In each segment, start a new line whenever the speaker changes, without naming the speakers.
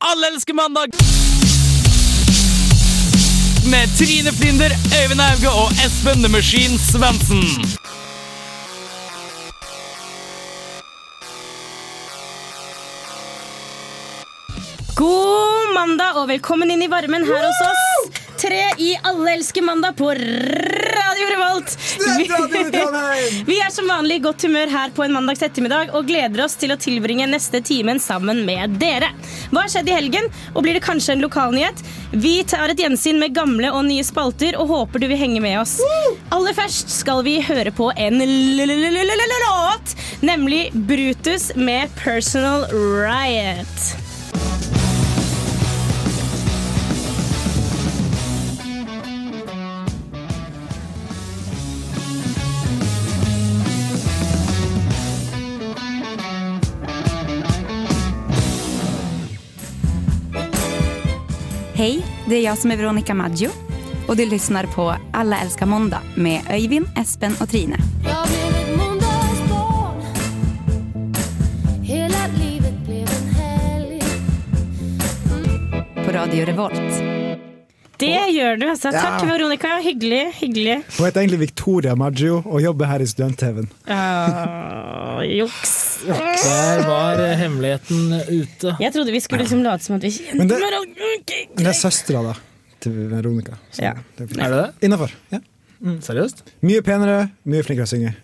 Alle elsker mandag! Med Trine Flinder, Øyvind Auge og Espen The Machine Svendsen.
God mandag og velkommen inn i varmen her hos oss. Tre i Alle elsker mandag på Radio Revolt.
Studentradioen i Trondheim!
Vi er som vanlig i godt humør her på en mandags ettermiddag og gleder oss til å tilbringe neste timen sammen med dere. Hva har skjedd i helgen, og blir det kanskje en lokalnyhet? Vi tar et gjensyn med gamle og nye spalter og håper du vil henge med oss. Aller først skal vi høre på en l-l-l-låt, nemlig Brutus med Personal Riot.
Hej, det är jag som är Veronica Maggio och du lyssnar på Alla älskar måndag med Öyvind, Espen och Trine.
Jag blev ett måndagsbarn Hela livet blev en helg
På Radio Revolt.
Det gjør du, altså.
Ja.
Takk, Veronica. Hyggelig. hyggelig.
Hun heter egentlig Victoria Maggio og jobber her i Student-TV-en.
Uh, juks.
Der var eh, hemmeligheten ute.
Jeg trodde vi skulle liksom late som at vi kjente
Men det-
hverandre. Ok.
Men det er søstera da, til Veronica. Så
Ja.
det er fint.
Er det det?
Innafor. Ja.
Seriøst?
Mye penere, mye flinkere å synge.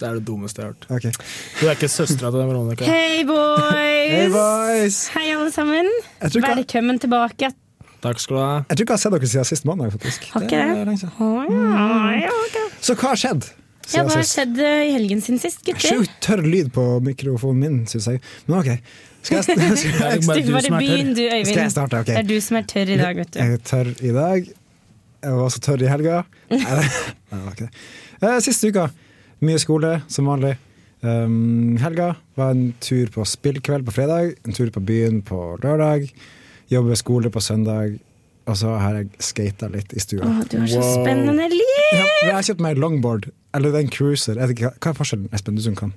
Det er det dummeste jeg har hørt.
Ok.
Du er ikke søstera til Veronica.
Hei, boys.
Hey boys!
Hei, alle sammen.
Jeg tror, ikke,
Velkommen tilbake.
Takk skal du ha.
jeg tror ikke jeg har sett dere siden sist mandag, faktisk.
Har ikke
er
det?
lenge siden. Mm.
Å, ja, ja, ok.
Så hva har skjedd
Ja,
siden
hva har
sist?
skjedd eh, i helgen sin sist, gutter?
Sjukt tørr lyd på mikrofonen min, syns jeg. Men OK. Skal jeg, skal
Det er
jeg,
ikke
Du
bare
får
du
bare
som er
begynn,
tørr.
du,
skal jeg
Øyvind.
starte? OK.
Det er du som er tørr i dag, vet du.
Jeg er tørr i dag. Jeg var også tørr i helga. Nei, det var ikke det. Eh, Siste uka. Mye skole, som vanlig. Um, helga var en tur på spillkveld på fredag, en tur på byen på lørdag. Jobbe skole på søndag. Og så har jeg skata litt i stua.
Å, du har så
Wow.
spennende liv!
Ja, men jeg har kjøpt meg longboard, eller en cruiser. Jeg vet ikke, hva- hva er forskjellen, Espen, du som kan?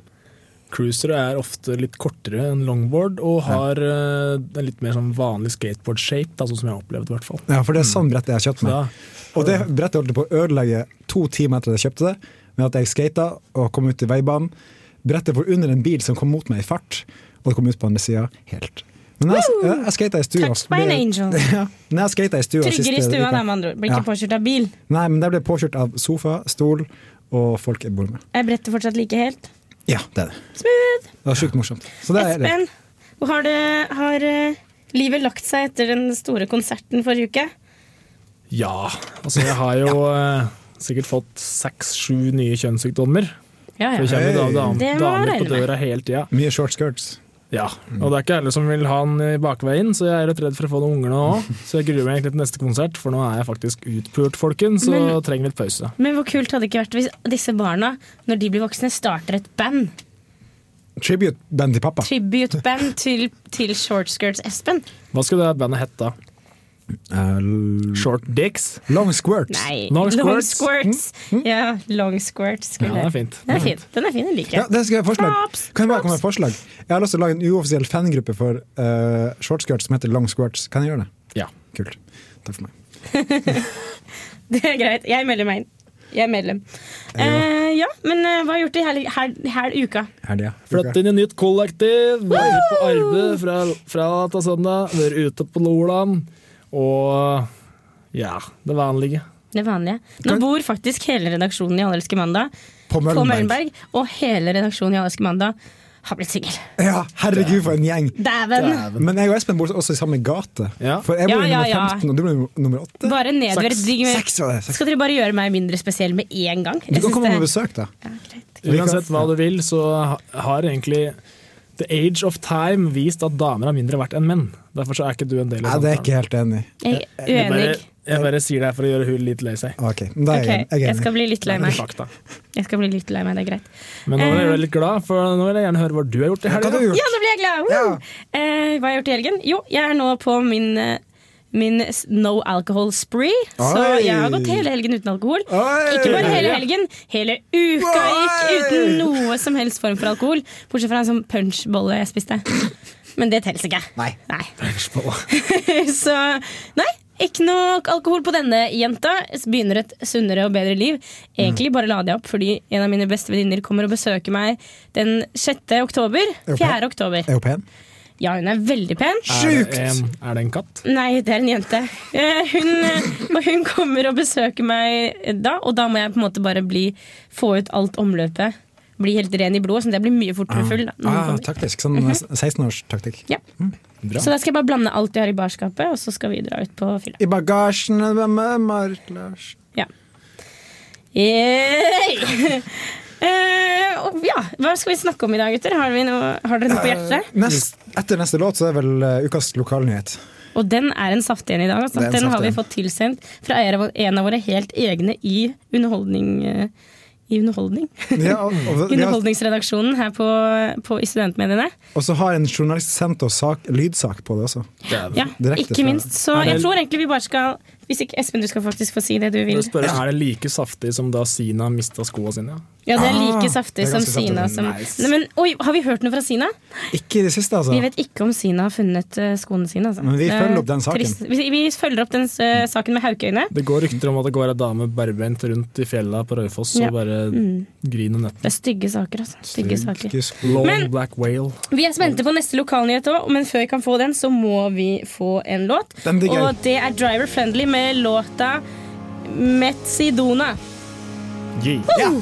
Cruisere er ofte litt kortere enn longboard og har eh, en litt mer sånn vanlig skateboard-shape, da, sånn som jeg har opplevd i hvert fall.
Ja, for det er sånn brett jeg har kjøpt
Så
meg.
da,
Og det brettet holdt på å ødelegge to timer etter at jeg kjøpte det, med at jeg skata og kom ut i veibanen. Brettet var under en bil som kom mot meg i fart, og det kom ut på andre sida helt. Men jeg, jeg, jeg skata i stua.
Touched by an
ble-
angel.
Ja, men jeg skata i stua
Tryggere i
siste
stua,
uka.
da, med andre ord. Blir ikke
Ja.
påkjørt av bil.
Nei, men der ble jeg påkjørt av sofa, stol og folk jeg bor med.
Er brettet fortsatt like helt?
Ja, det er det.
Smooth!
Det var sjukt morsomt. Så det er det.
Espen, hvor har, det, har eh, livet lagt seg etter den store konserten forrige uke?
ja. Altså, jeg har jo eh, sikkert fått seks-sju nye kjønnssykdommer.
Ja,
For det kommer jo da dam-
Det må
damer
regne
på
med.
døra hele tida.
Mye short skirts.
Ja, og det er ikke alle som vil ha den i bakveien, så jeg er litt redd for å få noen unger nå òg. Så jeg gruer meg egentlig til neste konsert, for nå er jeg faktisk utpult, folkens, og
Men-
trenger litt pause.
Men hvor kult hadde det ikke vært hvis disse barna, når de blir voksne, starter et band?
Tribute-band til pappa.
Tribute-band til, til Shortskirts Espen.
Hva skulle det bandet hette?
Eh, l-
Short Dicks?
long squirts.
Nei,
Long squirts.
squirts. Ja, long squirts.
Ja,
Skulle.
det er
jeg-
fint.
Den er fin. Den er fin, jeg liker
Ja, det skal jeg ha forslag.
Props,
Kan jeg bare komme med
props.
et forslag? Jeg har lyst til å lage en uoffisiell fangruppe for uh, shortskirts som heter Long Squirts. Kan jeg gjøre det?
Ja.
Kult. Takk for meg.
Det er greit. Jeg melder meg inn. Jeg er medlem. Ja, ja men eh, hva har jeg gjort i hele her, her uka?
Helga.
Flytt inn i nytt kollektiv, vært på arbeid fra fredag til søndag, vært ute på Loland, og ja, det vanlige.
Det vanlige. Nå bor faktisk hele redaksjonen i Alle elsker mandag
På
på
Møllenberg.
Møllenberg. Og hele redaksjonen i Alle elsker mandag har blitt singel.
Ja, herregud, for en gjeng.
Dæven!
Dæven.
Men jeg og Espen bor også i samme gate.
Ja.
For jeg bor
Ja, ja,
i nummer
ja.
15, og du bor i nummer 8.
Bare nedverdig.
Seks var det. Seks.
Skal dere bare gjøre meg mindre spesiell med en gang?
Du
Jeg
kan
synes
komme
det-
på besøk, da.
Ja, greit.
Uansett hva du vil, så ha- har egentlig The age of time vist at damer er mindre verdt enn menn. Derfor så er ikke du en del
Nei,
av
det er jeg
samtalen.
ikke helt enig i.
Jeg er
Jeg bare,
uenig.
jeg bare sier det her for å gjøre hun litt lei seg.
Ah, Ok, men da er jeg
Ok,
enig. jeg
jeg
er
skal
enig.
bli litt lei meg.
Fakta.
Jeg skal bli litt lei meg, det er greit.
Men nå ble jeg litt glad, for nå vil jeg gjerne høre hva du har gjort i
Hva har du
Ja,
helga.
gjort?
nå blir jeg glad! Woo! Eh, hva har jeg gjort i helgen? Jo, jeg er nå på min, eh, min s- no alcohol spree. Så
Oi!
jeg har gått hele helgen uten alkohol.
Oi!
Ikke bare hele helgen, hele uka gikk uten noe noe som helst form for alkohol, bortsett fra en sånn punchbolle jeg spiste. Men det telles ikke.
Nei.
Så nei, ikke noe alkohol på denne jenta. Begynner et sunnere og bedre liv. Egentlig bare lader jeg opp fordi en av mine beste venninner kommer og besøker meg den 6. oktober.
det
4. oktober.
Er hun pen?
Ja, hun er veldig pen.
Sjukt!
Er, det en- er det en katt?
Nei, det er en jente. Eh, Hun, eh, og hun kommer og besøker meg da, og da må jeg på en måte bare bli, få ut alt omløpet. Bli helt ren i blodet, så jeg blir mye fortere full. Da, når hun
Ah,
kommer. Mhm.
taktisk. Sånn 16-årstaktikk.
ja.
Bra.
Så da skal jeg bare blande alt jeg har i barskapet, og så skal vi dra ut på fylla.
I bagasjen med Marit Lars.
Ja. Yay! Eh, og ja, hva skal vi snakke om i dag, gutter? Har, vi noe, har dere noe på hjertet?
Nest, etter neste låt så er vel eh, ukas lokalnyhet.
Og den er en saftig en i dag. Altså.
Det er en
Den har
saftig
vi
en.
fått tilsendt fra en av- en av våre helt egne i underholdning. eh, I underholdning.
Ja, og, og, ja, altså,
Underholdningsredaksjonen her på, på, i studentmediene.
og så har en journalist sendt oss sak, lydsak på det altså. også.
Dæven.
Ja,
Direkte
ikke
fra-
minst. Så
Er det-
jeg tror egentlig vi bare skal Hvis ikke Espen, du skal faktisk få si det du
Jeg
vil.
Spør, er det like saftig som da Sina mista skoa sine?
Ja, det er
Ah,
like
det
saftig
er
som
ganske saftig.
Sina som
Nice.
Nei, men, Oi, har vi hørt noe fra Sina?
Ikke i det siste, altså.
Vi vet ikke om Sina har funnet eh, skoene sine. Altså.
Men vi
Det er
følger opp den saken.
trist. Vi, vi følger opp den eh, saken med haukøyne.
Det går rykter om at det går ei dame bærbeint rundt i fjella på Raufoss
Ja. Mm.
og bare griner
Det
netten.
er stygge saker, altså. Stygge saker.
Ikke-
Long
Men-
black whale.
Vi er spente på neste lokalnyhet òg, men før vi kan få den, så må vi få en låt.
Den blir gøy.
Og det er Driver Friendly med låta Metsidona.
Ja.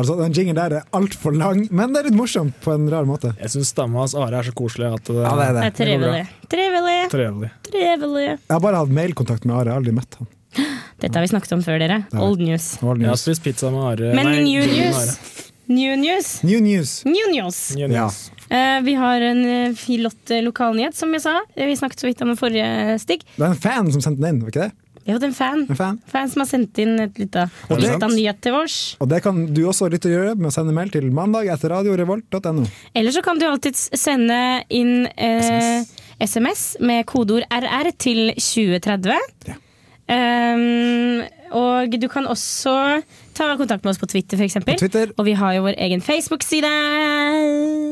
Altså, Den jingen der er altfor lang, men det er litt morsomt på en rar måte.
Jeg syns stemma hans Are er så koselig at eh, det,
Ja, det er
Det
det.
er trivelig. Trivelig,
trevelig.
trivelig.
Jeg har bare hatt mailkontakt med Are, jeg har aldri møtt han.
Dette har vi snakket om før, dere.
Ja.
Old news.
Det var
Jeg har
news.
spist pizza med Are.
Men
Nei,
new
Jørgen og
news. New news.
New news!
New news.
New
Ja.
news.
Eh, vi har en eh, flott eh, lokalnyhet, som jeg sa. Eh, Vi snakket så vidt om det forrige stikk.
Det er en fan som sendte den inn, var ikke det?
Vi har fått en fan.
En fan?
Fan som har sendt inn et lite
Og det-
lita nyhet til oss.
Og det kan du også lytte og gjøre med å sende mail til mandag etter radiorevolt.no.
Eller så kan du alltid sende inn eh, SMS med kodeord RR til 2030.
Ja.
Ehm, og du kan også ta kontakt med oss på Twitter, f.eks.
På Twitter.
Og vi har jo vår egen Facebook-side.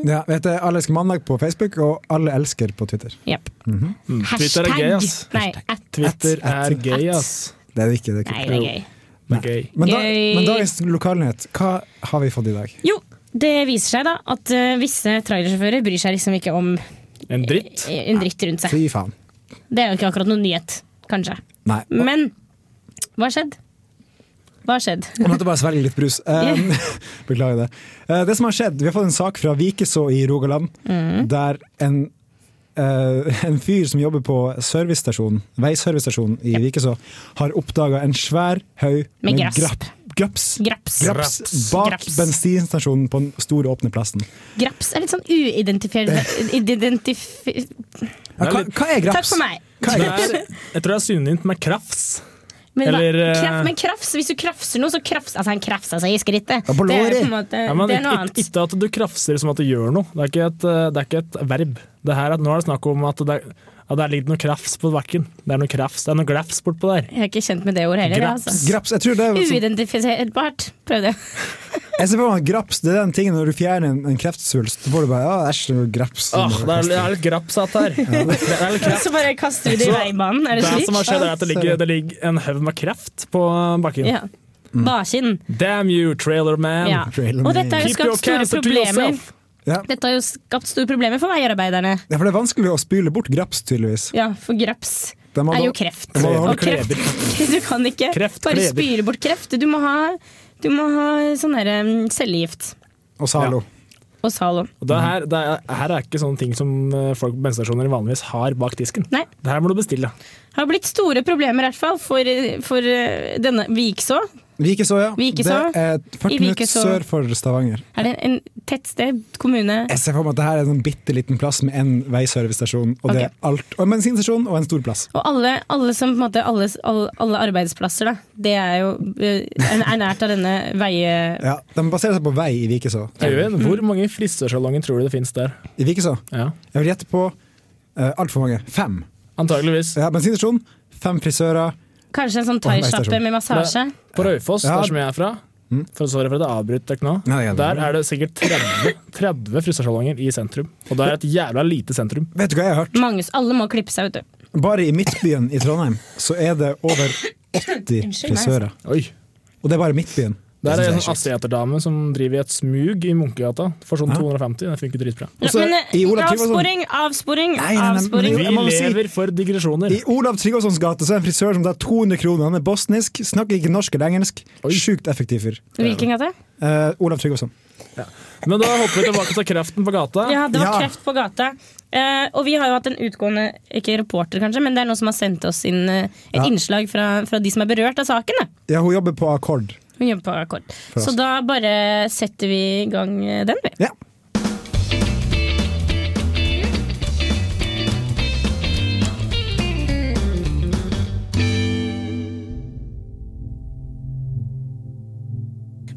Ja, vi heter Alle elsker mandag på Facebook og Alle elsker på Twitter.
Yep.
Mhm.
Mm. Twitter er gøy, ass.
Nei, at.
Twitter
At-
er
at-
gøy, ass.
Det er det ikke. Det er
Nei,
ikke.
det er gøy.
Det er gøy.
Men, da,
Gøy.
men dagens lokalnyhet, hva har vi fått i dag?
Jo, det viser seg da at eh, visse trailersjåfører bryr seg liksom ikke om eh,
En dritt.
en dritt rundt seg.
Fy faen.
Det er jo ikke akkurat noen nyhet, kanskje.
Nei. Og,
Men hva har skjedd? Hva har skjedd?
jeg måtte bare svelge litt brus. Um, beklager det. Eh, det som har skjedd, vi har fått en sak fra Vikeså i Rogaland,
Mm.
der en, eh, en fyr som jobber på servicestasjonen, veiservicestasjonen i Vikeså, har oppdaga en svær haug
Med grasp.
grapp- graps.
Graps.
Graps bak
Graps.
bensinstasjonen på den store åpne plassen.
Graps er litt sånn uidentifierende identif...
Ja, hva, hva er graps?
Takk for meg.
Hva er
Det
graps?
er, jeg tror det er synonymt med krafs.
Men, hva,
Eller, eh,
kraf, men krafs, hvis du krafser noe, så krafs Altså, han krafsa seg i skrittet.
Ja, på
det er
låret.
på en måte
Ja, men
Det er noe
ikke-
annet.
Ikke at du krafser som at du gjør noe. Det er ikke et, eh, det er ikke et verb. Det her, er- nå er det snakk om at det, er- at det ligger noe krafs på bakken. Det er noe krafs, det er noe glafs bortpå der.
Jeg er ikke kjent med det ordet heller.
Graps.
Altså.
Graps, jeg tror det er sånn,
Uidentifiserbart. Prøvde jeg.
jeg ser for meg at graps, det er den tingen når du fjerner en, en kreftsvulst, så får du bare ja, æsj, det er noe graps.
Ah, det, er, det er litt grapsete her. Det er litt kraft.
Så bare kaster du det i
Så,
veibanen. Er
Det
det
som har
slik?
skjedd, er at det ligger, det ligger en haug med kraft på bakken.
Ja.
Mm.
Baskinn.
Damn you, trailer man!
Ja.
Trailer
Og dette har jo
Keep your
skapt store
cancer to
problemer.
yourself!
Ja.
Dette har jo skapt store problemer for veiarbeiderne.
Ja, for det er vanskelig å spyle bort graps, tydeligvis.
Ja, for graps
De må
er
da-
jo kreft.
de må da-
Og kreft Du kan ikke
Kreft
bare
kleder.
spyre bort kreft. Du må ha, du må ha sånn her um, cellegift.
Og Zalo.
Og Zalo.
Og det her, det er, her er ikke sånne ting som eh, folk på bensinstasjoner vanligvis har bak disken.
Nei.
Det her må du bestille.
Har blitt store problemer i hvert fall for, for eh, denne Vikså.
Vikeså, ja.
Vikeså.
Det er et 40
I
minutter
Vikeså.
sør for Stavanger.
Er det en tettsted? Kommune?
Jeg ser for meg at det her er en sånn bitte liten plass med én veiservicestasjon, og det
Ok.
er alt. Og en bensinstasjon og en stor plass.
Og alle, alle som på en måte alle, alle, alle arbeidsplasser, da. Det er jo eh, er er nært av denne veie...
Ja, De baserer seg på vei i Vikeså.
Øyvind, hvor mange frisørsalonger tror du det finnes der?
I Vikeså.
Ja.
Jeg vil gjette på uh, altfor mange. Fem.
Antageligvis.
Ja, bensinstasjon, fem frisører.
Kanskje en sånn
Og en veistasjon.
thaisjappe med massasje?
På Raufoss,
Ja.
der som jeg er fra, for å svare for at jeg avbryter dere nå,
Nei, det er greit.
der er det sikkert 30, 30 frisørsalonger i sentrum. Og det er et jævla lite sentrum.
Vet du hva jeg har hørt?
Mange, alle må klippe seg, vet du.
Bare i Midtbyen i Trondheim så er det over 80
Unnskyld meg.
frisører.
Oi.
Og det er bare Midtbyen.
Der er
synes
det en
jeg
sånn
sjukt.
asiaterdame som driver i et smug i Munkegata for sånn 250. Det funker dritbra.
Og så
Men eh,
i Olav Tryggvason-
avsporing, avsporing,
Nei, nei, nei, men-
Vi
avsporing.
Jeg må si-
lever for digresjoner.
I Olav Tryggvasons gate så er det en frisør som tar 200 kroner. Han er bosnisk, snakker ikke norsk eller engelsk. Sjukt effektiv fyr.
Hvilken gate?
Eh, Olav Tryggvason.
Men da hopper vi tilbake til kraften på gata.
Ja, det var
Ja.
kreft på gata. Eh, og vi har jo hatt en utgående ikke reporter, kanskje, men det er noen som har sendt oss inn eh, et
Ja.
innslag fra, fra de som er berørt av saken. Da.
Ja, hun jobber på akkord.
Hun jobber på akkord.
oss.
Så da bare setter vi i gang eh, den, vi.
Ja.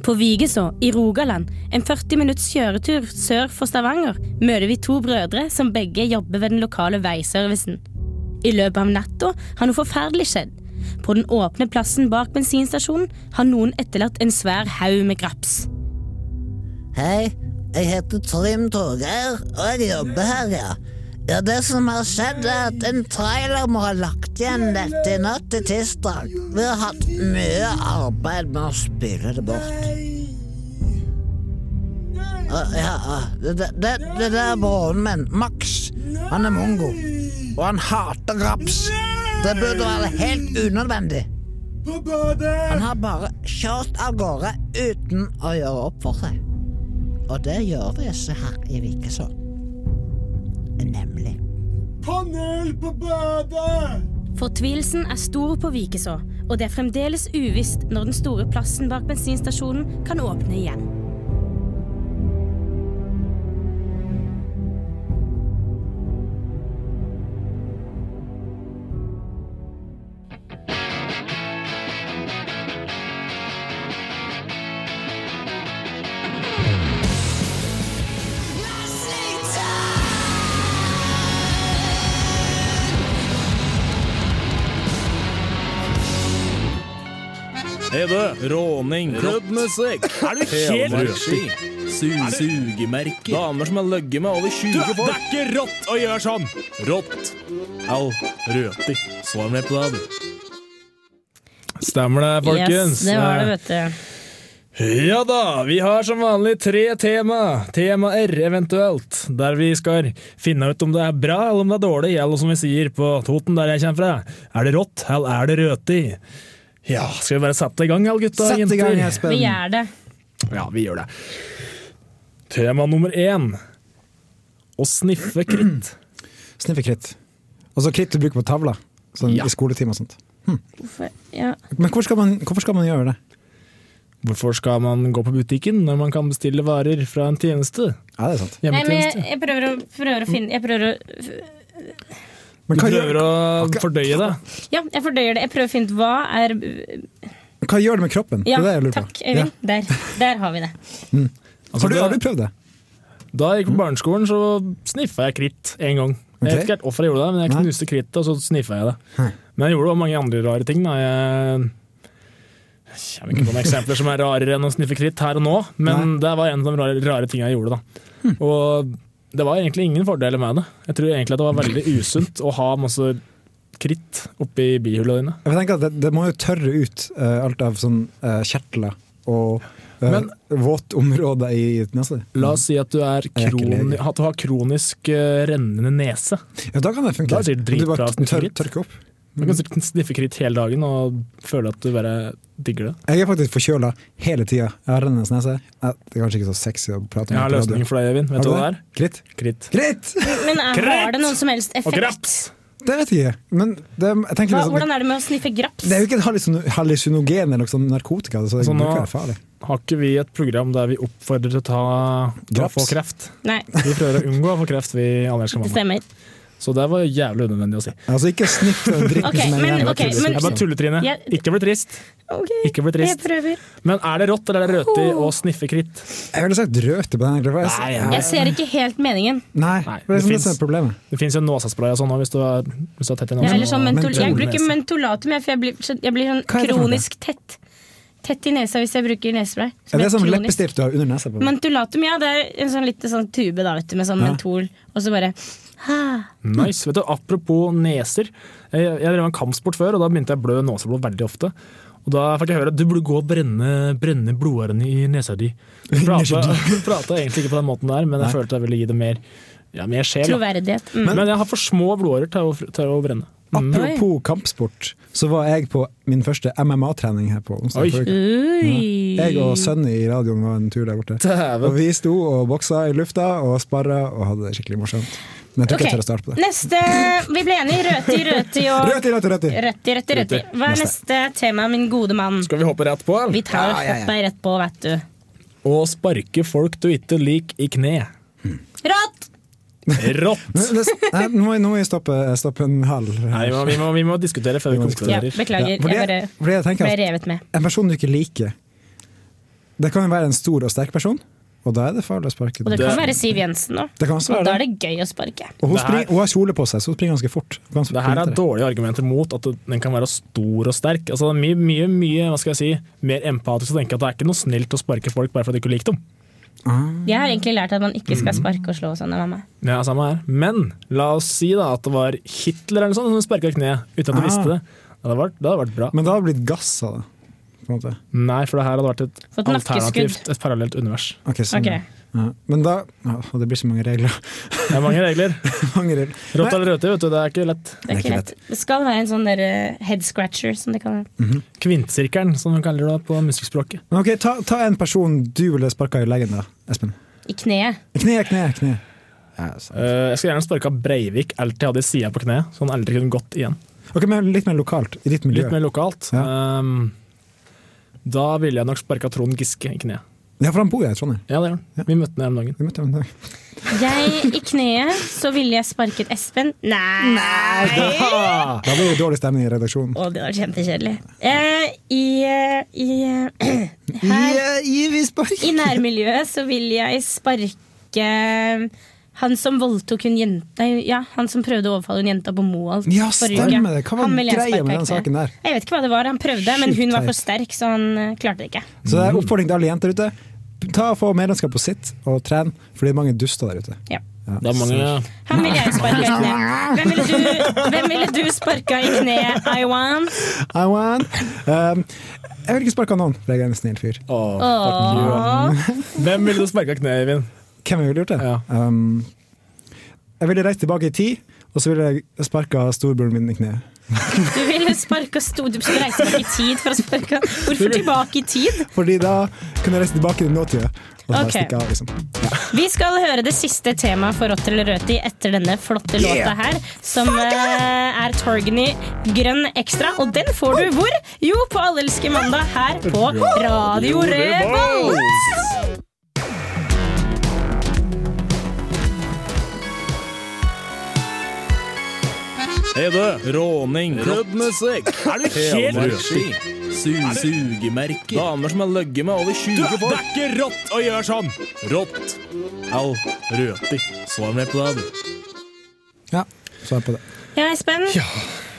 På Vigeså i Rogaland, en 40 minutts kjøretur sør for Stavanger, møter vi to brødre som begge jobber ved den lokale veiservicen. I løpet av natta har noe forferdelig skjedd. På den åpne plassen bak bensinstasjonen har noen etterlatt en svær haug med graps.
Hei, jeg heter Trym Torgeir, og jeg jobber her, ja. Ja, det som har skjedd er at en trailer må ha lagt igjen dette i natt til tirsdag. Vi har hatt mye arbeid med å spyle det bort. Å, ja, å, det, det, det, det der er broren min, Max. Han er mongo, og han hater graps. Det burde være helt unødvendig. Han har bare kjørt av gårde uten å gjøre opp for seg. Og det gjør vi ikke her i Vikeså. Nemlig.
Fortvilelsen er stor på Vikeså, og det er fremdeles uvisst når den store plassen bak bensinstasjonen kan åpne igjen.
Råning.
Rød musikk.
Er du helt
Rødski.
Sugemerker.
Damer som har løgget med over 20
det er ikke rått å gjøre sånn! Rått. Au. Røti. Svar meg på det, du.
Stemmer det, folkens.
Yes,
eh,
det var det, vet du.
Ja da, vi har som vanlig tre tema. Tema R eventuelt, der vi skal finne ut om det er bra eller om det er dårlig, eller som vi sier på Toten der jeg kommer fra, er det rått eller er det røti? Ja, skal vi bare sette i gang, alle gutta og
Sett i gang,
jenter?
Vi
Espen.
gjør det.
Ja, vi gjør det. Tema nummer én. Å sniffe kritt.
Sniffekritt. Og så kritt du bruker på tavla. Sånn
Ja.
i skoletime og sånt.
Hvorfor- Ja.
Men hvorfor skal, man, hvorfor skal man gjøre det?
Hvorfor skal man gå på butikken når man kan bestille varer fra en tjeneste?
Ja, det er sant.
Nei, men jeg,
Hjemmetjeneste.
jeg prøver, å, prøver å finne Jeg prøver å
Men
Du
hva
prøver
gjør,
å fordøye det.
Ja, jeg fordøyer det. Jeg prøver å finne ut hva er
hva gjør det med kroppen?
Ja,
det er det jeg lurer
takk,
på. Ja.
Øyvind. Der, der har vi det.
Altså,
Har, du,
det-
har du prøvd det?
Da jeg gikk på barneskolen, så sniffa jeg kritt en gang. Jeg vet
Ok.
ikke helt hvorfor jeg gjorde det, men jeg
Nei.
knuste krittet, og så sniffa jeg det.
Hæ.
Men jeg gjorde også mange andre rare ting. Da. Jeg jeg kommer ikke på noen eksempler som er rarere enn å sniffe kritt her og nå, men det var en av de rare, rare tingene jeg gjorde. da.
Hm.
Og det var egentlig ingen fordeler med det. Jeg tror egentlig at det var veldig usunt å ha masse kritt oppi bihulene dine.
Jeg tenker at det, det må jo tørre ut eh, alt av sånn eh, kjertler og eh,
Men-
våtområder i nesa di.
La oss si at du, er
Mm. Jeg er ikke
kroni,
lege.
at du har kronisk eh, rennende nese.
Ja, da kan det funke.
Da er det sikkert
du bare
dritbra
tør-
sniffekritt.
tørker opp.
Du kan sikkert sniffe kritt hele dagen og føle at du bare digger det.
Jeg er faktisk forkjøla hele tida. Jeg har rennende nese. Ja, Det er kanskje ikke så sexy å prate om.
Jeg har
på radio.
løsningen for deg, Øyvind. Vet du hva det er?
Kritt?
Kritt.
Kritt!
Men er, har det noen som helst
Og
effekt?
graps!
Det vet jeg ikke. Men det, jeg tenker
Hva,
liksom,
hvordan er det med å sniffe graps?
Det er jo ikke et hallusin- hallusinogen eller noe sånn narkotika, så det
Så Altså, nå-
bruker være farlig.
Har ikke vi et program der vi oppfordrer til å ta til å
Graps.
få kreft?
Nei,
Vi prøver å unngå å få kreft, vi
det
allerske
stemmer.
Så det var jævlig unødvendig å si.
Altså, ikke snipp den dritten
Ok,
som er
men-
igjen.
ok, men-
Jeg bare tuller, Trine.
Jeg-
Ikke bli trist.
Ok,
Ikke bli
jeg
trist.
prøver.
Men er det rått eller er det røti å sniffe kritt?
Jeg ville sagt røte på den. her, for
Nei,
Jeg,
nei.
Jeg ser ikke helt meningen.
nei,
Nei,
det er
det
liksom det som
finnes.
er problemet.
Det fins jo nåsaspray og sånn òg, hvis du er hvis du er tett i
Jeg, er
nesen.
heller sånn mentol jeg
Mentol.
bruker mentolatum, jeg, for jeg blir, så- jeg blir sånn
Hva er det for noe?
kronisk tett. Tett i nesa hvis jeg bruker nesespray.
Er det
er
som
kronisk.
leppestift du har under nesa på?
Mentolatum, ja. Det er en sånn liten sånn tube da, vet du, med sånn
Ja.
mentol, og så bare ah.
Nice. Vet du, apropos neser. Jeg, jeg drev en kampsport før, og da begynte jeg å blø neseblod veldig ofte. Og Da fikk jeg høre at du burde gå og brenne, brenne blodårene i nesa di. Du prata prata egentlig ikke på den måten der, men jeg følte jeg ville gi det mer, ja, mer sjel. da.
Troverdighet. Mm.
Men jeg har for små blodårer til å, til å brenne.
Mm. Apropos kampsport, så var jeg på min første MMA-trening her på onsdag.
Oi.
forrige uke.
Ui.
Jeg og sønnen i radioen var en tur der borte. Og
Dæven.
vi sto og boksa i lufta og sparra og hadde det skikkelig morsomt. Men jeg tror ikke
Ok,
jeg tør å starte på det.
Neste Vi ble enige. Røti, røti og
Røti, røti, røti!
Røti, røti, røti. Hva er neste tema, min gode mann?
Skal vi hoppe rett på,
Vi
eller?
tar og hopper rett på, vet du.
Å sparke folk du ikke liker i kne.
Rått!
Rått!
Men det- Nei, Nå må jeg- nå må jeg stoppe, stoppe en hal.
Nei, vi må, vi, må, vi må diskutere før vi
Vi må
Ja,
konkluderer.
beklager.
fordi,
Jeg bare
fordi jeg tenker
ble
at
revet med.
En person du ikke liker Det kan jo være en stor og sterk person, og da er det farlig å sparke.
Og det
det,
kan være Siv Jensen nå.
kan også
Og
være
da er
det.
det gøy å sparke.
Og hun,
Det her-
springer, hun har kjole på seg, så hun springer ganske fort. Hun kan
Det her er
sprinte.
dårlige argumenter mot at den kan være stor og sterk. Altså, det er mye, mye, mye hva skal jeg si, mer empatisk å tenke at det er ikke noe snilt å sparke folk bare fordi du ikke liker dem.
Jeg har egentlig lært at man ikke skal sparke og slå og sånn av mamma.
Ja, samme her. Men la oss si da at det var Hitler eller noe sånt som sparka kneet uten
Ah.
at du visste det. Det hadde, vært, det hadde vært bra.
Men da har det blitt gass av det. På en måte.
Nei, for det her hadde vært et
Fått nakkeskudd.
alternativt, et parallelt univers.
Ok, sånn.
Ok.
Ja. Men da ja, og Det blir så mange regler.
Det er mange regler.
mange regler.
Rått eller røte, vet du, det er ikke lett.
Det er ikke lett. Det skal være en sånn der eh, head scratcher, som det kan
Mm.
være.
Kvintsirkelen, som de kaller det på musikkspråket.
Men ok, ta, ta en person du ville sparka i leggen, da, Espen.
I kneet.
Kne, kne, kne.
Eh, jeg skulle gjerne sparka Breivik alltid hadde sida på kneet, så han aldri kunne gått igjen.
Ok, men Litt mer lokalt. I ditt miljø.
Litt mer lokalt. Ehm, da ville jeg nok sparka Trond Giske i kneet.
Ja, for han bor jo i Trondheim.
Ja, det gjør han. Vi møtte ham her om dagen.
Vi møtte ham en dag.
Jeg i kneet, så ville jeg sparket Espen. Nei!
Ah.
Da blir det dårlig stemning i redaksjonen.
Å, det var kjempekjedelig. Eh, I eh, i, eh, her, I nærmiljøet så vil jeg sparke han som voldtok en jente Nei, ja, han som prøvde å overfalle en jente på Moholt
Ja,
forrige uke.
stemmer det. Hva var
Han vil jeg
greia
sparke
med den
i kneet.
saken der?
Jeg vet ikke hva det var. Han prøvde, men
Sjukt
hun var
teit.
for sterk, så han eh, klarte det ikke.
Så det er oppfordring til alle jenter ute. Ta og Få medlemskap på sitt og tren, for det er mange duster der ute.
Ja.
Ja.
Det er mange
Han ville jeg sparka i kneet. Hvem ville du, hvem ville du sparka i kneet, Iwan?
I want. Um, jeg vil ikke sparke noen, for jeg er en snill fyr.
Åh, fuck you. Hvem ville du sparka kneet, Eivind?
Hvem jeg ville gjort det?
Ja.
Um, jeg ville reist tilbake i tid, og så ville jeg sparka storebroren min i kneet.
Du ville sparka sto... Du skulle reise tilbake i tid for å sparke Hvorfor tilbake i tid?
Fordi da kunne jeg reise tilbake til nåtida. Og så bare
Ok.
stikke av, liksom.
Vi skal høre det siste temaet for Rotter eller Røti etter denne flotte låta her, som eh, er Torgny Grønn Ekstra. Og den får du hvor? Jo, på Allelske mandag her på Radio Revolt!
Hei du, råning, køddmusikk, er du helt rødski, sugemerker, damer som har løgget med over 20 folk. Det er ikke rått å gjøre sånn! Rått. Au, røti. Svar meg på det, du.
Ja, så er jeg på det.
Ja, Espen.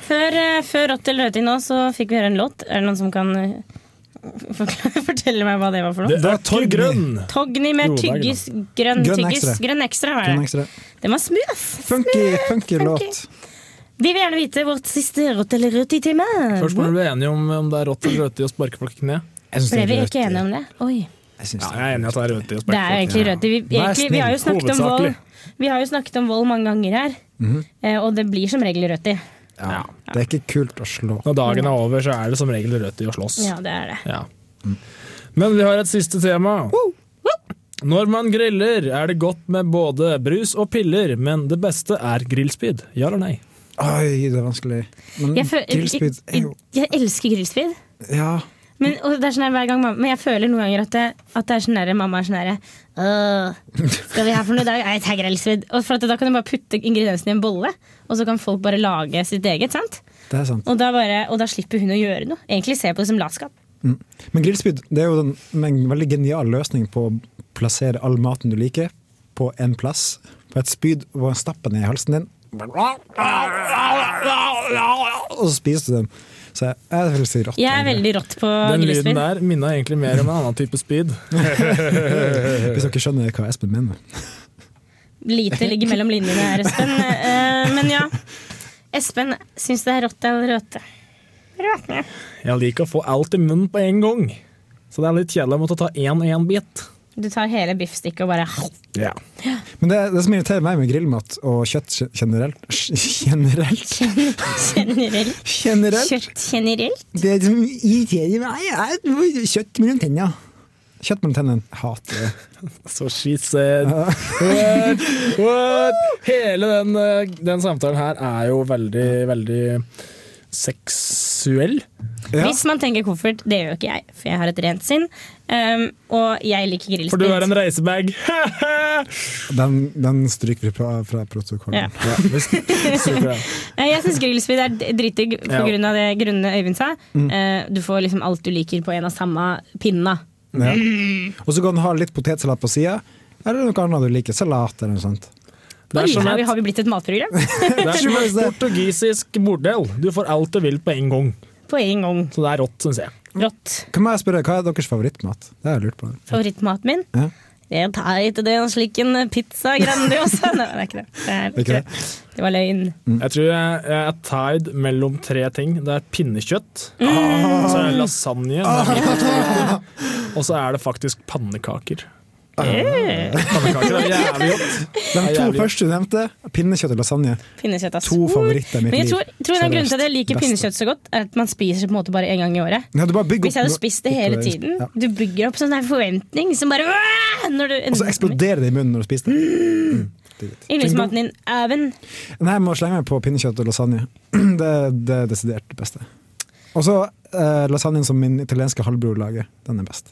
Før, eh, før Rotter eller Røti nå, så fikk vi høre en låt. Er det noen som kan eh, forklare- fortelle meg hva det var for noe?
Det er Torg Grønn!
Togny med
Jo, det er
tyggis, grønn,
Grønn
tyggis,
ekstra.
grønn ekstra. Var
Den
det.
ekstra.
Den var smooth.
Funky, funky låt.
Vi vil gjerne vite vårt siste rått eller rødt i timen.
Først må vi bli enige om om det er rått eller røti å sparke folk i kne.
Ble vi ikke enige om det? Oi.
Jeg syns
Ja,
det.
jeg er enig i at det er røti å
Det er jo
sparke folk i kne.
egentlig rødt. Vi,
Vær
egentlig, vi, har jo
snill,
snakket om vold,
hovedsakelig. Mhm.
vi har jo snakket om vold mange ganger her, Eh, og det blir som regel rødt i.
Ja. Det er ikke kult å slå.
Når dagen er over, så er det som regel røti å slåss.
Ja, det er det.
Ja. Men vi har et siste tema. Når man griller, er det godt med både brus og piller, men det beste er grillspyd. Ja eller nei?
Oi, det er vanskelig. Men
Jeg, fø-
grillspyd er
jeg,
jo
jeg elsker grillspyd.
Ja.
Men, og det er sånn her hver gang mamma, men jeg føler noen ganger at det, at det er sånn her, mamma er sånn her «Åh, Skal vi ha for noe i dag? Nei, Jeg tar grillspyd. Og for at Da kan du bare putte ingrediensene i en bolle, og så kan folk bare lage sitt eget. sant?
Det er sant.
Og da, bare, og da slipper hun å gjøre noe. Egentlig ser jeg på det som latskap.
Men grillspyd det er jo den, en veldig genial løsning på å plassere all maten du liker, på én plass. På et spyd og bare stappe den i halsen din. Og så spiser du den. Så jeg, jeg vil si rått.
Jeg er veldig rått på
Den lyden
grillspyd.
der minna egentlig mer om en annen type speed.
Hvis dere skjønner hva Espen mener.
Lite ligger mellom linjene her, Espen. Eh, men ja. Espen syns det er rått eller røte.
Jeg liker å få alt i munnen på en gang, så det er litt kjedelig å måtte ta én og én bit.
Du tar hele biffstykket og bare
Men det, det som irriterer meg med grillmat og kjøtt generelt Generelt?
generelt.
generelt
Kjøtt generelt.
Det som irriterer meg, er kjøtt mellom tennene. Kjøtt mellom tennene. Jeg hater det.
Så she said what, what? Hele den, eh, den samtalen her er jo veldig, veldig seksuell.
Ja.
Hvis man tenker koffert, det gjør jo ikke jeg, for jeg har et rent sinn. Um, og jeg liker grillspyd.
For du er en reisebag.
Den, den stryker vi fra, fra protokollen.
Ja.
ja, visst. Superbra.
Nei, Jeg syns grillspyd er d- dritdigg på
Ja. Mm.
grunn av det grunne Øyvind sa. Eh, du får liksom alt du liker på en av samme pinna.
Ja. Og så kan du ha litt potetsalat på sida, eller noe annet du liker. Salat eller noe sånt.
Det
Oi,
er sånn som
her
et,
har vi blitt et matprogram
det er som et portugisisk bordell. Du får alt du vil på en gang.
på en gang.
Så det er rått, syns jeg.
Rått.
Kan jeg spørre, Hva er deres favorittmat? Det har jeg lurt på.
Favorittmaten min?
Ja.
Jeg tar ikke det en slik en pizza grandiosa. Nei, det er ikke det. Det, er
ikke
ikke det. det var løgn.
Jeg tror jeg, jeg er tied mellom tre ting. Det er pinnekjøtt, så er det lasagne, med hvitløksgryte, og så er det faktisk pannekaker. Eh, Pannekaker er jævlig godt.
De to
jævlig.
første du nevnte, pinnekjøtt og lasagne.
Pinnekjøtt, ass.
To favoritter i mitt
Men jeg
liv.
tror, tror en av grunnene til at jeg liker
Beste.
pinnekjøtt så godt, er at man spiser på en måte bare en gang i året.
Ja, du bare bygger
Hvis jeg hadde
opp-
spist det hele
opp-
tiden
Ja.
Du bygger opp sånn der forventning som bare «Åh!» når du,
Og så eksploderer det i munnen når du spiser det.
Mm. Yndlingsmaten din, Even.
Nei, jeg må slenge meg på pinnekjøtt og lasagne. Det, det er desidert det beste. Og så eh, lasagnen som min italienske halvbror lager. Den er best.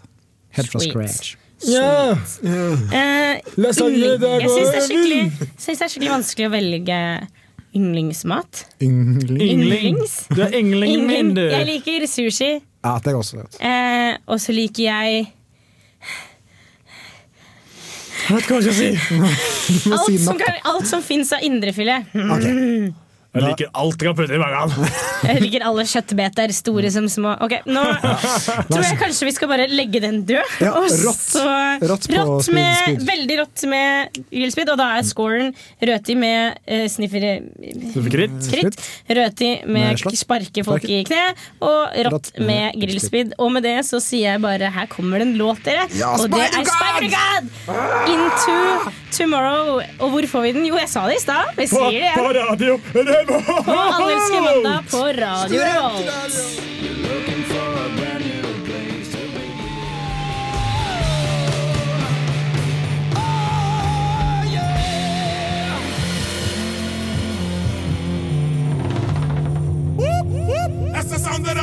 Helt fra
Sweet.
scratch.
Ja,
Eh,
lasagne,
yndling-
der
jeg syns det, er
går
skikkelig- jeg synes det er skikkelig vanskelig å velge yndlingsmat.
Yndling.
Yngling.
Ynglings.
Du er ynglingen min,
Yndling.
du.
Jeg liker sushi.
Ja, det er også godt.
Eh, og så liker jeg
Jeg vet ikke hva jeg skal si.
alt
si
som,
napp.
kan, alt som fins av indrefilet.
Ok.
Jeg liker alt jeg kan putte i magen.
Jeg liker alle kjøttbeter, store som små. Ok, Nå tror jeg kanskje vi skal bare legge den død.
Ja,
og
rått.
så
Rått på
rått
speed,
med,
speed.
Veldig rått med grillspyd. Og da er scoren røti med uh, snifferkritt.
Kritt.
Røti med
Med slått.
sparke folk i kne. Og rått
Rått med
med grillspyd. Og med det så sier jeg bare her kommer det en låt, dere.
Ja,
og det
Spider
er Spider God! Into Tomorrow. Og hvor får vi den? Jo, jeg sa det i stad. Vi sier det igjen.
radio
På Allelske mandag på Radio Revolt.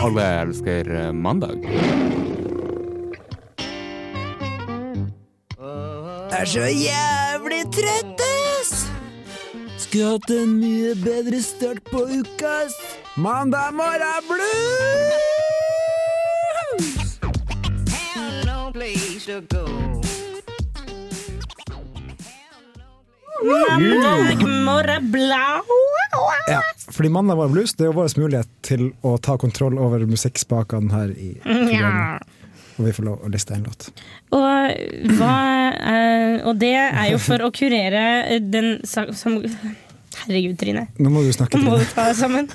Alle elsker eh, mandag.
Jeg er så jævlig trøtt, ass! Skulle hatt en mye bedre start på uka, ass. Mandag morgen blues!
Mandag morgen blau.
Ja, fordi Mandag var blues, det er jo vår mulighet til å ta kontroll over musikkspakene her i
Mm,
programmet. Og vi får lov å liste en låt.
Og, hva, eh, og det er jo for å kurere den sa- som Herregud, Trine.
Nå må du snakke
Nå
til
må du
meg.
ta deg sammen.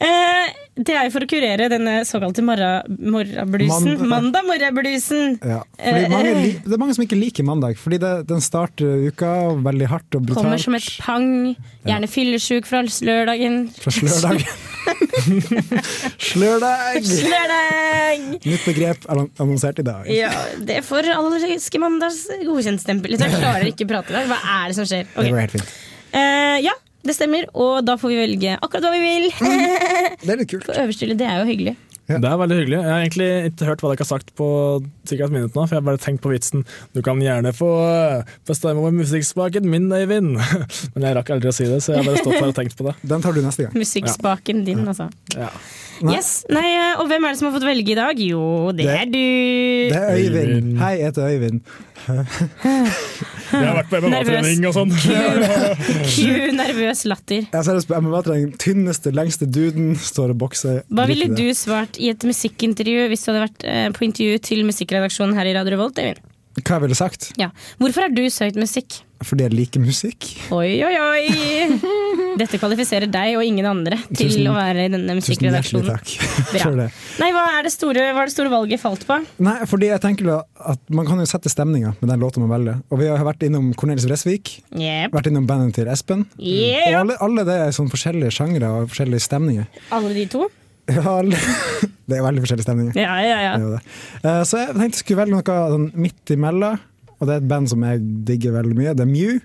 Eh, det er jo for å kurere denne såkalte morra- morrablusen.
Mandag.
Mandag morrablusen.
Ja,
Eh,
fordi mange, li- det er mange som ikke liker mandag, fordi det, den starter uka veldig hardt og
Kommer
brutalt
som et pang. Gjerne fyllesyk fra lørdagen.
fra slørdag. slørdag!
Lørdag!
Nytt begrep er annon- annonsert i dag.
Ja, det får allergiske mandags godkjentstempel. Jeg klarer ikke å prate i dag. Hva er det som skjer?
Det
Ok.
går helt fint.
Eh, ja, Det stemmer, og da får vi velge akkurat hva vi vil.
Det er litt kult.
På øverste hylle, det er jo hyggelig.
Det er veldig hyggelig. Jeg har egentlig ikke hørt hva dere har sagt på sikkert et minutt nå, for jeg har bare tenkt på vitsen. Du kan gjerne få eh, bestemme over musikksmaken min, Øyvind. Men jeg rakk aldri å si det, så jeg har bare stått her og tenkt på det.
Den tar du neste gang.
Musikkspaken din, altså.
Ja.
Yes, nei, eh, Og hvem er det som har fått velge i dag? Jo, det
Det-
er du!
Det er Øyvind.
Øyvind.
Hei, jeg heter Øyvind.
Jeg har vært på MMA-trening og sånn.
Q, nervøs latter.
Jeg ser på MMA-trening. Tynneste, lengste duden står og bokser.
Hva ville
Drit i
du
det.
svart i et musikkintervju hvis du hadde vært eh, på intervju til musikkredaksjonen her i Radio Revolt, Eivind?
Hva jeg ville sagt?
Ja. Hvorfor har du søkt musikk?
Fordi jeg liker musikk.
Oi, oi, oi! Dette kvalifiserer deg og ingen andre til
Tusen-
å være i denne
Tusen hjertelig
musikkredaksjonen.
takk.
Bra.
For det.
Nei, hva er det store, hva er det store valget falt på?
Nei, fordi jeg tenker da at Man kan jo sette stemninga med den låta man velger. Og vi har vært innom Cornelis Vresvik,
Yep.
vært innom bandet til Espen. Og
Yeah.
alle, alle det er sånn forskjellige sjangre og forskjellige stemninger.
Alle de to?
Ja, alle. Det er veldig forskjellige stemninger.
Ja, ja, ja.
Det er jo det. Eh, Så jeg tenkte jeg skulle velge noe sånn midt imellom, og det er et band som jeg digger veldig mye. Det er Mew.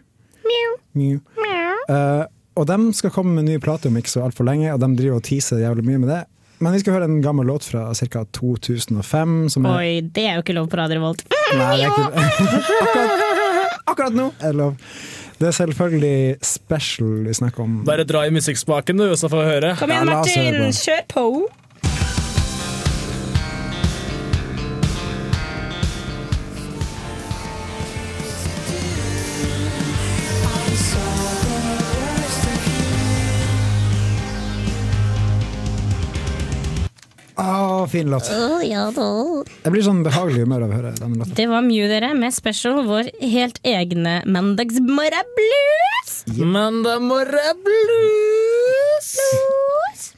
Mew. Eh, og de skal komme med en ny plate om ikke så altfor lenge, og de driver og teaser jævlig mye med det. Men vi skal høre en gammel låt fra ca. 2005. Som er,
Oi, det er jo ikke lov på Radio Revolt.
Nei, det er ikke det. akkurat, akkurat nå er det lov. Det er selvfølgelig Special vi snakker om.
Bare dra i musikkspaken, du, så får vi høre.
Kom igjen,
Ja, la oss høre
Martin, kjør på!
Å, fin låt. Jeg blir sånn behagelig i humør av å høre denne låta.
Det var Mew, dere, med Special, vår helt egne Mandagsmorra Blues!
Men det må reblues!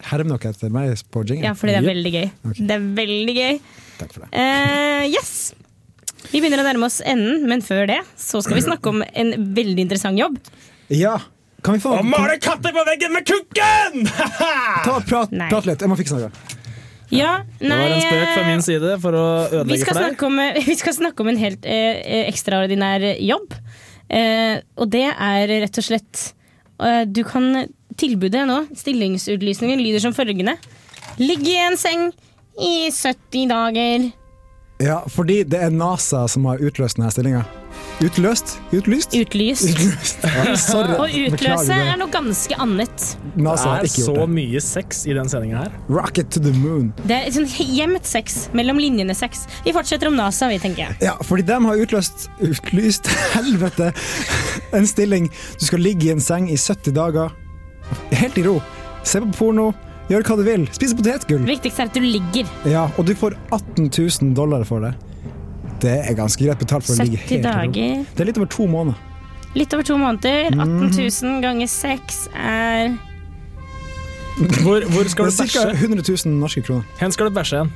Herm noe etter meg på
Ja,
jingle.
fordi det er veldig gøy.
Ok.
Det er veldig gøy.
Takk for det.
Eh, yes! Vi begynner å nærme oss enden, men før det så skal vi snakke om en veldig interessant jobb.
Ja, kan vi få
Å male katter på veggen med kukken!
Ta og prat,
Nei.
prat litt, jeg må fikse noe.
Ja,
Det var en spøk fra
nei eh,
min side for å
vi
ødelegge
skal,
for deg.
snakke om, vi skal snakke om en helt eh, ekstraordinær jobb. Eh, og det er rett og slett eh, Du kan tilbudet nå, stillingsutlysningen, lyder som følgende. Ligge i en seng i 70 dager.
Ja, fordi det er NASA som har utløst denne stillinga. Utløst? Utlyst?
Utlyst.
Utløst. Ja, sorry.
Å utløse
Beklager
er noe ganske annet.
det. NASA har
Altså, Det er
ikke
så
gjort det.
mye sex i den sendinga her.
Rocket to the moon.
Det er sånn gjemt sex. Mellom linjene-sex. Vi fortsetter om NASA, vi, tenker jeg.
Ja, fordi de har utløst Utlyst, helvete! En stilling. Du skal ligge i en seng i 70 dager. Helt i ro. Se på porno. Gjør hva du vil. Spise potetgull.
Viktigst er at du ligger.
Ja, og du får 18 000 dollar for det. Det er ganske greit betalt for å ligge
70
helt i ro.
dager.
Det er litt over to måneder.
Litt over to måneder.
Mm.
18 000 ganger 6 er
Hvor, hvor skal du
Det er ca.
bæsje?
100 000 norske kroner.
Hen skal du bæsje hen?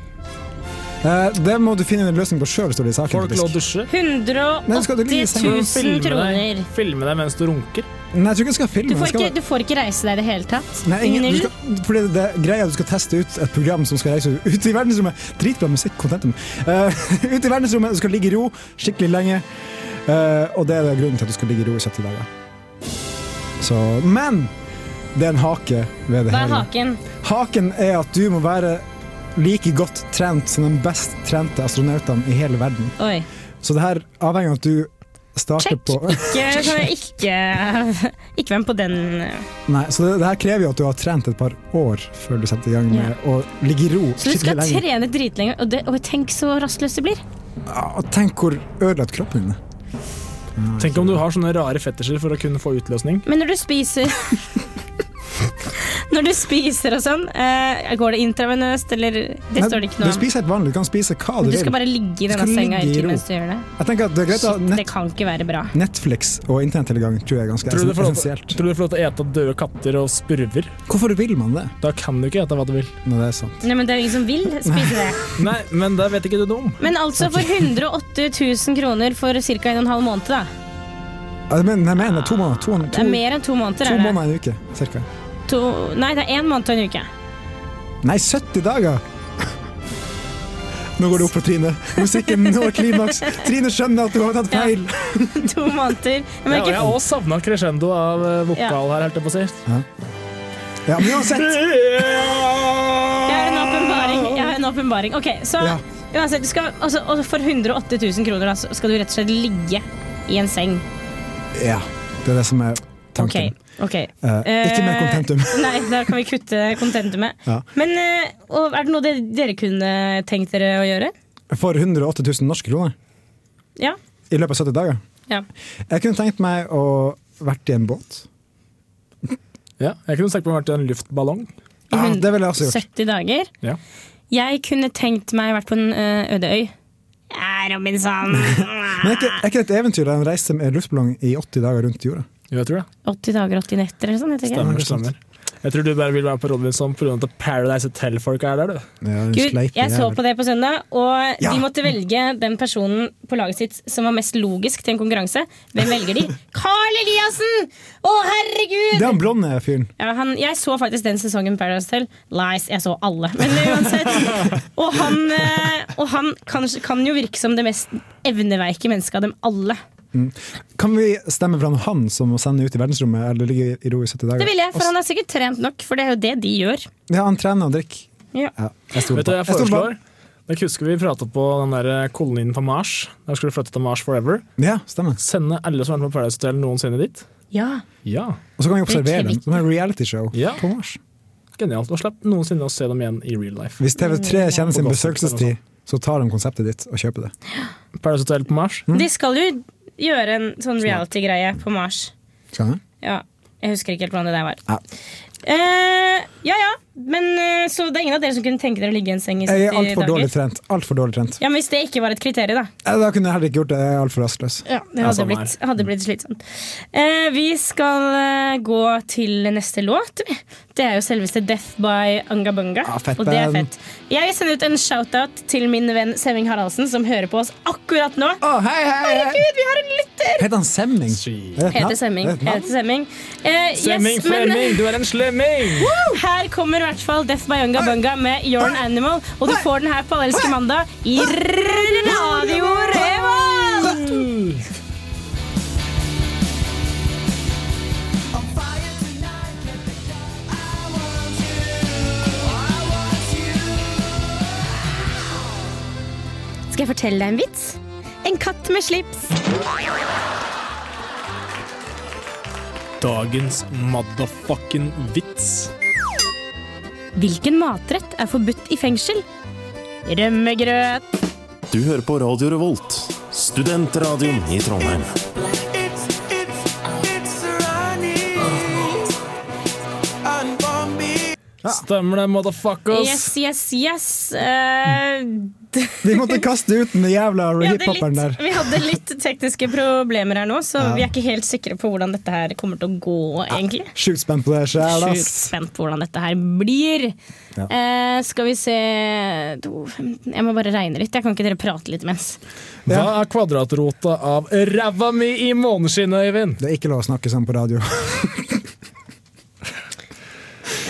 Eh, det må du finne en løsning på sjøl, står det i saken.
Folk lå og
faktisk.
dusje.
Nei, skal du ligge i
180
senga?
000
deg,
kroner.
filme deg mens du runker.
Nei, jeg tror ikke jeg skal
Du
filme.
får,
Mm. jeg skal
ikke, du får ikke reise deg i det hele tatt.
Nei, ingen, du
Null.
skal, fordi det er greia du skal teste ut et program som skal reise ut i verdensrommet. Dritbra musikk, contentum. Eh, ut i verdensrommet, du skal ligge i ro skikkelig lenge. Eh, og det er da grunnen til at du skal ligge i ro i 70 dager. Så, men det er en hake ved det
Hva er
hele.
haken?
Haken er at du må være like godt trent som de best trente astronautene i hele verden.
Oi.
Så det her avhenger av at du starter
Check.
på
Ikke, kan jeg ikke Ikke hvem på den
Nei, så det, det her krever jo at du har trent et par år før du setter i gang med å ligge i ro
Så du skal
skikkelig lenge.
trene dritlenge, og, det, og tenk så rastløs du blir.
Ja, og tenk hvor ødelagt kroppen din er.
Tenk om du har sånne rare fetisjer for å kunne få utløsning.
Men når du spiser Når du spiser og sånn, eh, går det intravenøst, eller Det
Nei,
står det ikke noe
Du
om.
spiser helt vanlig, du kan spise hva du,
Du
vil.
skal bare ligge i
Du
denne
skal
senga
ligge i
ikke
ro.
mens du gjør det.
Jeg tenker at det er greit å ha
Shit, det
net
kan ikke være bra.
Netflix og internettilgang tror jeg er ganske
Tror du du får lov til-
essensielt.
tror du du får lov til å ete døde katter og spurver?
Hvorfor vil man det?
Da kan du ikke ete hva du vil.
Når det er sant.
Nei, men Det er jo ingen som vil spise det.
Nei, men det vet ikke du noe om.
Men altså for 108 000 kroner for ca. en og en halv måned, da.
Ja, Jeg mener, jeg mener to måneder. To,
Det
to,
er mer enn to måneder.
to
er det?
måneder i en uke, cirka.
To, nei, det er én måned og en uke.
Nei, 70 dager! Nå går det opp for Trine. Musikken når klimaks. Trine skjønner at du har tatt feil.
To måneder. Jeg
Ja, og jeg
merker
har også savna crescendo av eh, vokal her, holdt jeg på å si.
Ja, men uansett.
Jeg har en åpenbaring. Jeg har en åpenbaring. Ok, så
Ja.
uansett, du skal, altså, og for 108 000 kroner da, så skal du rett og slett ligge i en seng.
Ja, det er det som er
Ok,
tanken.
ok.
Eh, ikke mer
Eh,
contentum.
Nei, der kan vi kutte kontentumet.
Ja.
Men eh, og er det noe det- dere kunne tenkt dere å gjøre?
For 108 000 norske kroner
Ja.
i løpet av 70 dager.
ja.
Jeg kunne tenkt meg å vært i en båt.
Ja, jeg kunne tenkt meg å vært i en luftballong.
I
Ja, det ville jeg også gjort.
70 dager.
Ja.
Jeg kunne tenkt meg vært på en eh, øde øy. Ja, Robinson!
Men er ikke, er ikke det et eventyr der en reiser med luftballong i 80 dager rundt jorda?
Jo, jeg tror det.
80 dager, 80 netter eller sånn. Jeg tenker.
Stemmer, stemmer. Jeg tror du bare vil være på Robinson pga. at Paradise Hotel-folk er der, du.
Ja, en
Gud,
sleip
jeg så
jævel.
på det på søndag, og
Ja.
de måtte velge den personen på laget sitt som var mest logisk til en konkurranse. Hvem velger de? Carl Eliassen! Å, herregud!
Det er han blonde fyren.
Ja, han, jeg så faktisk den sesongen Paradise Hotel. Lies, jeg så alle. Men uansett. Og han, eh, og han kan, kan jo virke som det mest evneveike mennesket av dem alle.
Kan vi stemme for han, han som må sende ut i verdensrommet eller ligge i ro i 70 dager?
Det vil jeg, for
Også-
han er sikkert trent nok, for det er jo det de gjør.
Ja, han trener og drikker.
Ja.
Ja, jeg stoler
Vet du hva jeg
stoler på
foreslår?
han.
Jeg husker vi prata på den der kolonien på Mars. Der skulle du flytte til Mars forever.
Ja, stemmer.
Sende alle som har vært på Paradise Hotel noensinne dit.
Ja.
Ja,
Og så kan vi observere
Virkelig
dem som en realityshow
Ja.
på Mars.
Genialt. Og slipp noensinne å se dem igjen i real life.
Hvis
Mm.
TV3 kjenner sin
På gossip eller
besøkelsestid, så tar de konseptet ditt og kjøper det.
Paradise Hotel på Mars.
Mm. De skal jo gjøre en sånn reality-greie på Mars.
Skjønner?
Ja, jeg husker ikke helt hvordan det der var.
Ja.
Eh, ja ja, men eh, så det er ingen av dere som kunne tenke dere å ligge i en seng i 70
Jeg er altfor dårlig
dager?
trent. Alt for dårlig trent.
Ja, men Hvis det ikke var et kriterium, da.
Eh, Da kunne jeg heller ikke gjort det. Jeg er altfor rastløs.
Ja, det
Ja,
hadde,
sånn
samme
blitt, hadde blitt slitsomt. Eh, vi skal eh, gå til neste låt. vi. Det er jo selveste Death by Angabunga.
Ja, fett
og det er
band.
fett. Jeg vil sende ut en shout-out til min venn Semming Haraldsen, som hører på oss akkurat nå.
Å, hei, hei, hei!
Herregud, vi har en lytter!
Heter han Semming? Er det et navn?
Heter Semming.
Er det et navn?
Heter Semming. Eh, yes,
Flemming,
men-
Flemming, du er en slemming!
Her kommer i hvert fall Death by Yunga Bunga med You're an Animal, og du får den her på Allelske mandag i Radio Revolt! Skal jeg fortelle deg en vits? En katt med slips.
Dagens motherfucking vits.
Hvilken matrett er forbudt i fengsel? Rømmegrøt.
Du hører på Radio Revolt, studentradioen i Trondheim.
Stemmer det, motherfuckers?
Yes, yes, yes. Eh,
Vi måtte kaste ut den jævla
Vi hadde,
hiphoperen der.
litt, vi hadde litt tekniske problemer her nå, så
Ja.
vi er ikke helt sikre på hvordan dette her kommer til å gå, egentlig.
Sjukt spent på det sjæl,
Sjukt
ass.
spent på hvordan dette her blir.
Ja.
Eh, skal vi se to, 15. Jeg må bare regne litt. Jeg kan ikke dere prate litt imens?
Hva er kvadratrota av ræva mi i måneskinnet, Øyvind?
Det er ikke lov å snakke sånn på radio.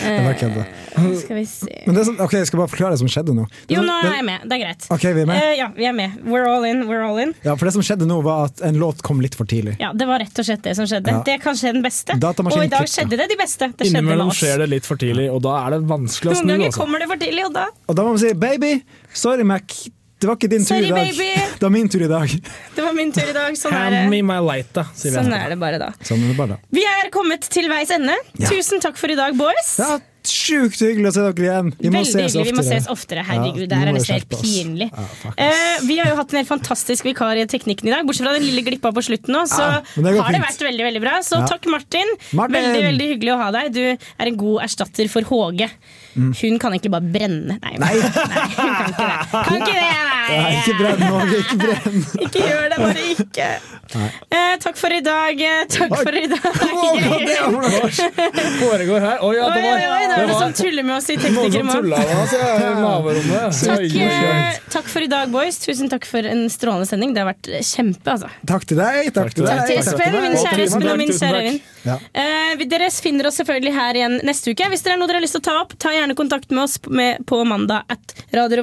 Eh.
Det var kødda.
Skal vi se
Men det som, ok, jeg skal bare forklare det som skjedde nå. Det
Jo,
som-
nå
det-
er jeg med. Det er greit.
Ok, vi er med.
Eh, ja, vi er med. We're all in. We're all in.
Ja, for det som skjedde nå, var at en låt kom litt for tidlig.
Ja, Det var rett og slett det som skjedde.
Ja.
Det er kanskje den beste. Og
Datamaskinen
i dag
klikket.
skjedde det de beste. Det skjedde med
Innimellom
oss.
skjer det litt for tidlig, og da er det vanskelig å
Noen
snu.
ganger
Altså.
kommer det for tidlig, og da
Og da må man si 'baby, sorry Mac'. Det var ikke din tur
Sorry,
i dag.
baby.
Det var min tur i dag.
Det var min tur i dag. Sånn er
Hand me
det,
my lighter, sier vi.
sånn
etterpå.
er det bare da.
Sånn er det bare.
Vi er kommet til veis ende.
Ja.
Tusen takk for i dag, boys.
Ja, sjukt hyggelig å se dere igjen. Vi må
Veldig
ses
hyggelig.
oftere.
Vi må ses oftere. Herregud,
Ja,
det her
nå
er
må vi
nesten helt
skjerpe oss.
pinlig.
Ja, fuck.
Eh, vi har jo hatt en helt fantastisk vikar i teknikken i dag, bortsett fra den lille glippa på slutten nå, så
Ja, men det går
har det
fint.
vært veldig, veldig bra. Så
Ja.
takk, Martin.
Martin!
Veldig, veldig hyggelig å ha deg. Du er en god erstatter for Håge.
Mm.
Hun kan egentlig bare brenne. Nei, nei hun kan ikke det. Kan ikke det, nei!
Nei, ikke brenn, Åge. Ikke brenn.
Ikke gjør det, bare ikke. Eh, takk for i dag. eh, Takk for i dag.
Å, hva det var?
Foregår her. Oi, ja,
Oi, oi,
det var
oi, det var det som tullet med oss i
Noen
Tekniker i
som
morgen.
tulla med oss i naverommet.
Takk,
Oi, oi, oi.
eh, takk for i dag, boys. Tusen takk for en strålende sending. Det har vært kjempe, altså.
Takk til deg. Takk, til
til deg.
deg.
Til
takk for
Espen,
det.
min
Og
kjære
Trine,
Espen og min
tusen
kjære
takk.
Øyvind.
Ja.
Eh, vi- dere finner oss selvfølgelig her igjen neste uke. Hvis dere er noe dere har lyst til å ta opp, ta gjerne kontakt med oss med, på mandag at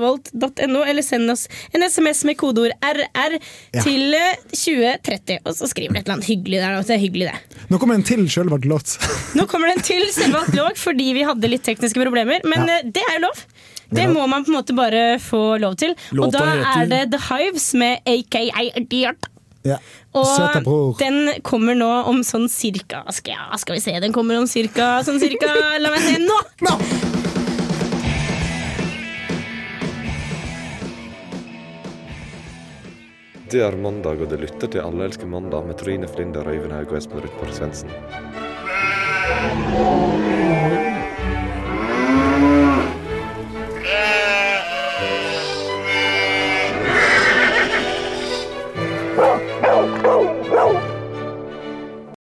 radiorevolt.no, eller send oss en SMS med kodeord RR til eh, 2030. Og så skriver dere et eller annet hyggelig der. da. Det er hyggelig, det.
Nå kommer en til sjølvalgt låt.
Nå kommer den til selvvalgt låg fordi vi hadde litt tekniske problemer, men eh, det er jo lov. Det må man på en måte bare få lov til. og
Låta
da
heter-
er det The Hives med AKA Dirt.
Ja. Søta bror.
Og den kommer nå om sånn cirka skal, ja, skal vi se, den kommer om cirka sånn cirka La meg se nå!
Det er mandag, og du lytter til Alle elsker mandag med Trine Flinder, Øyvind Haug og Espen Ruthborg Svendsen.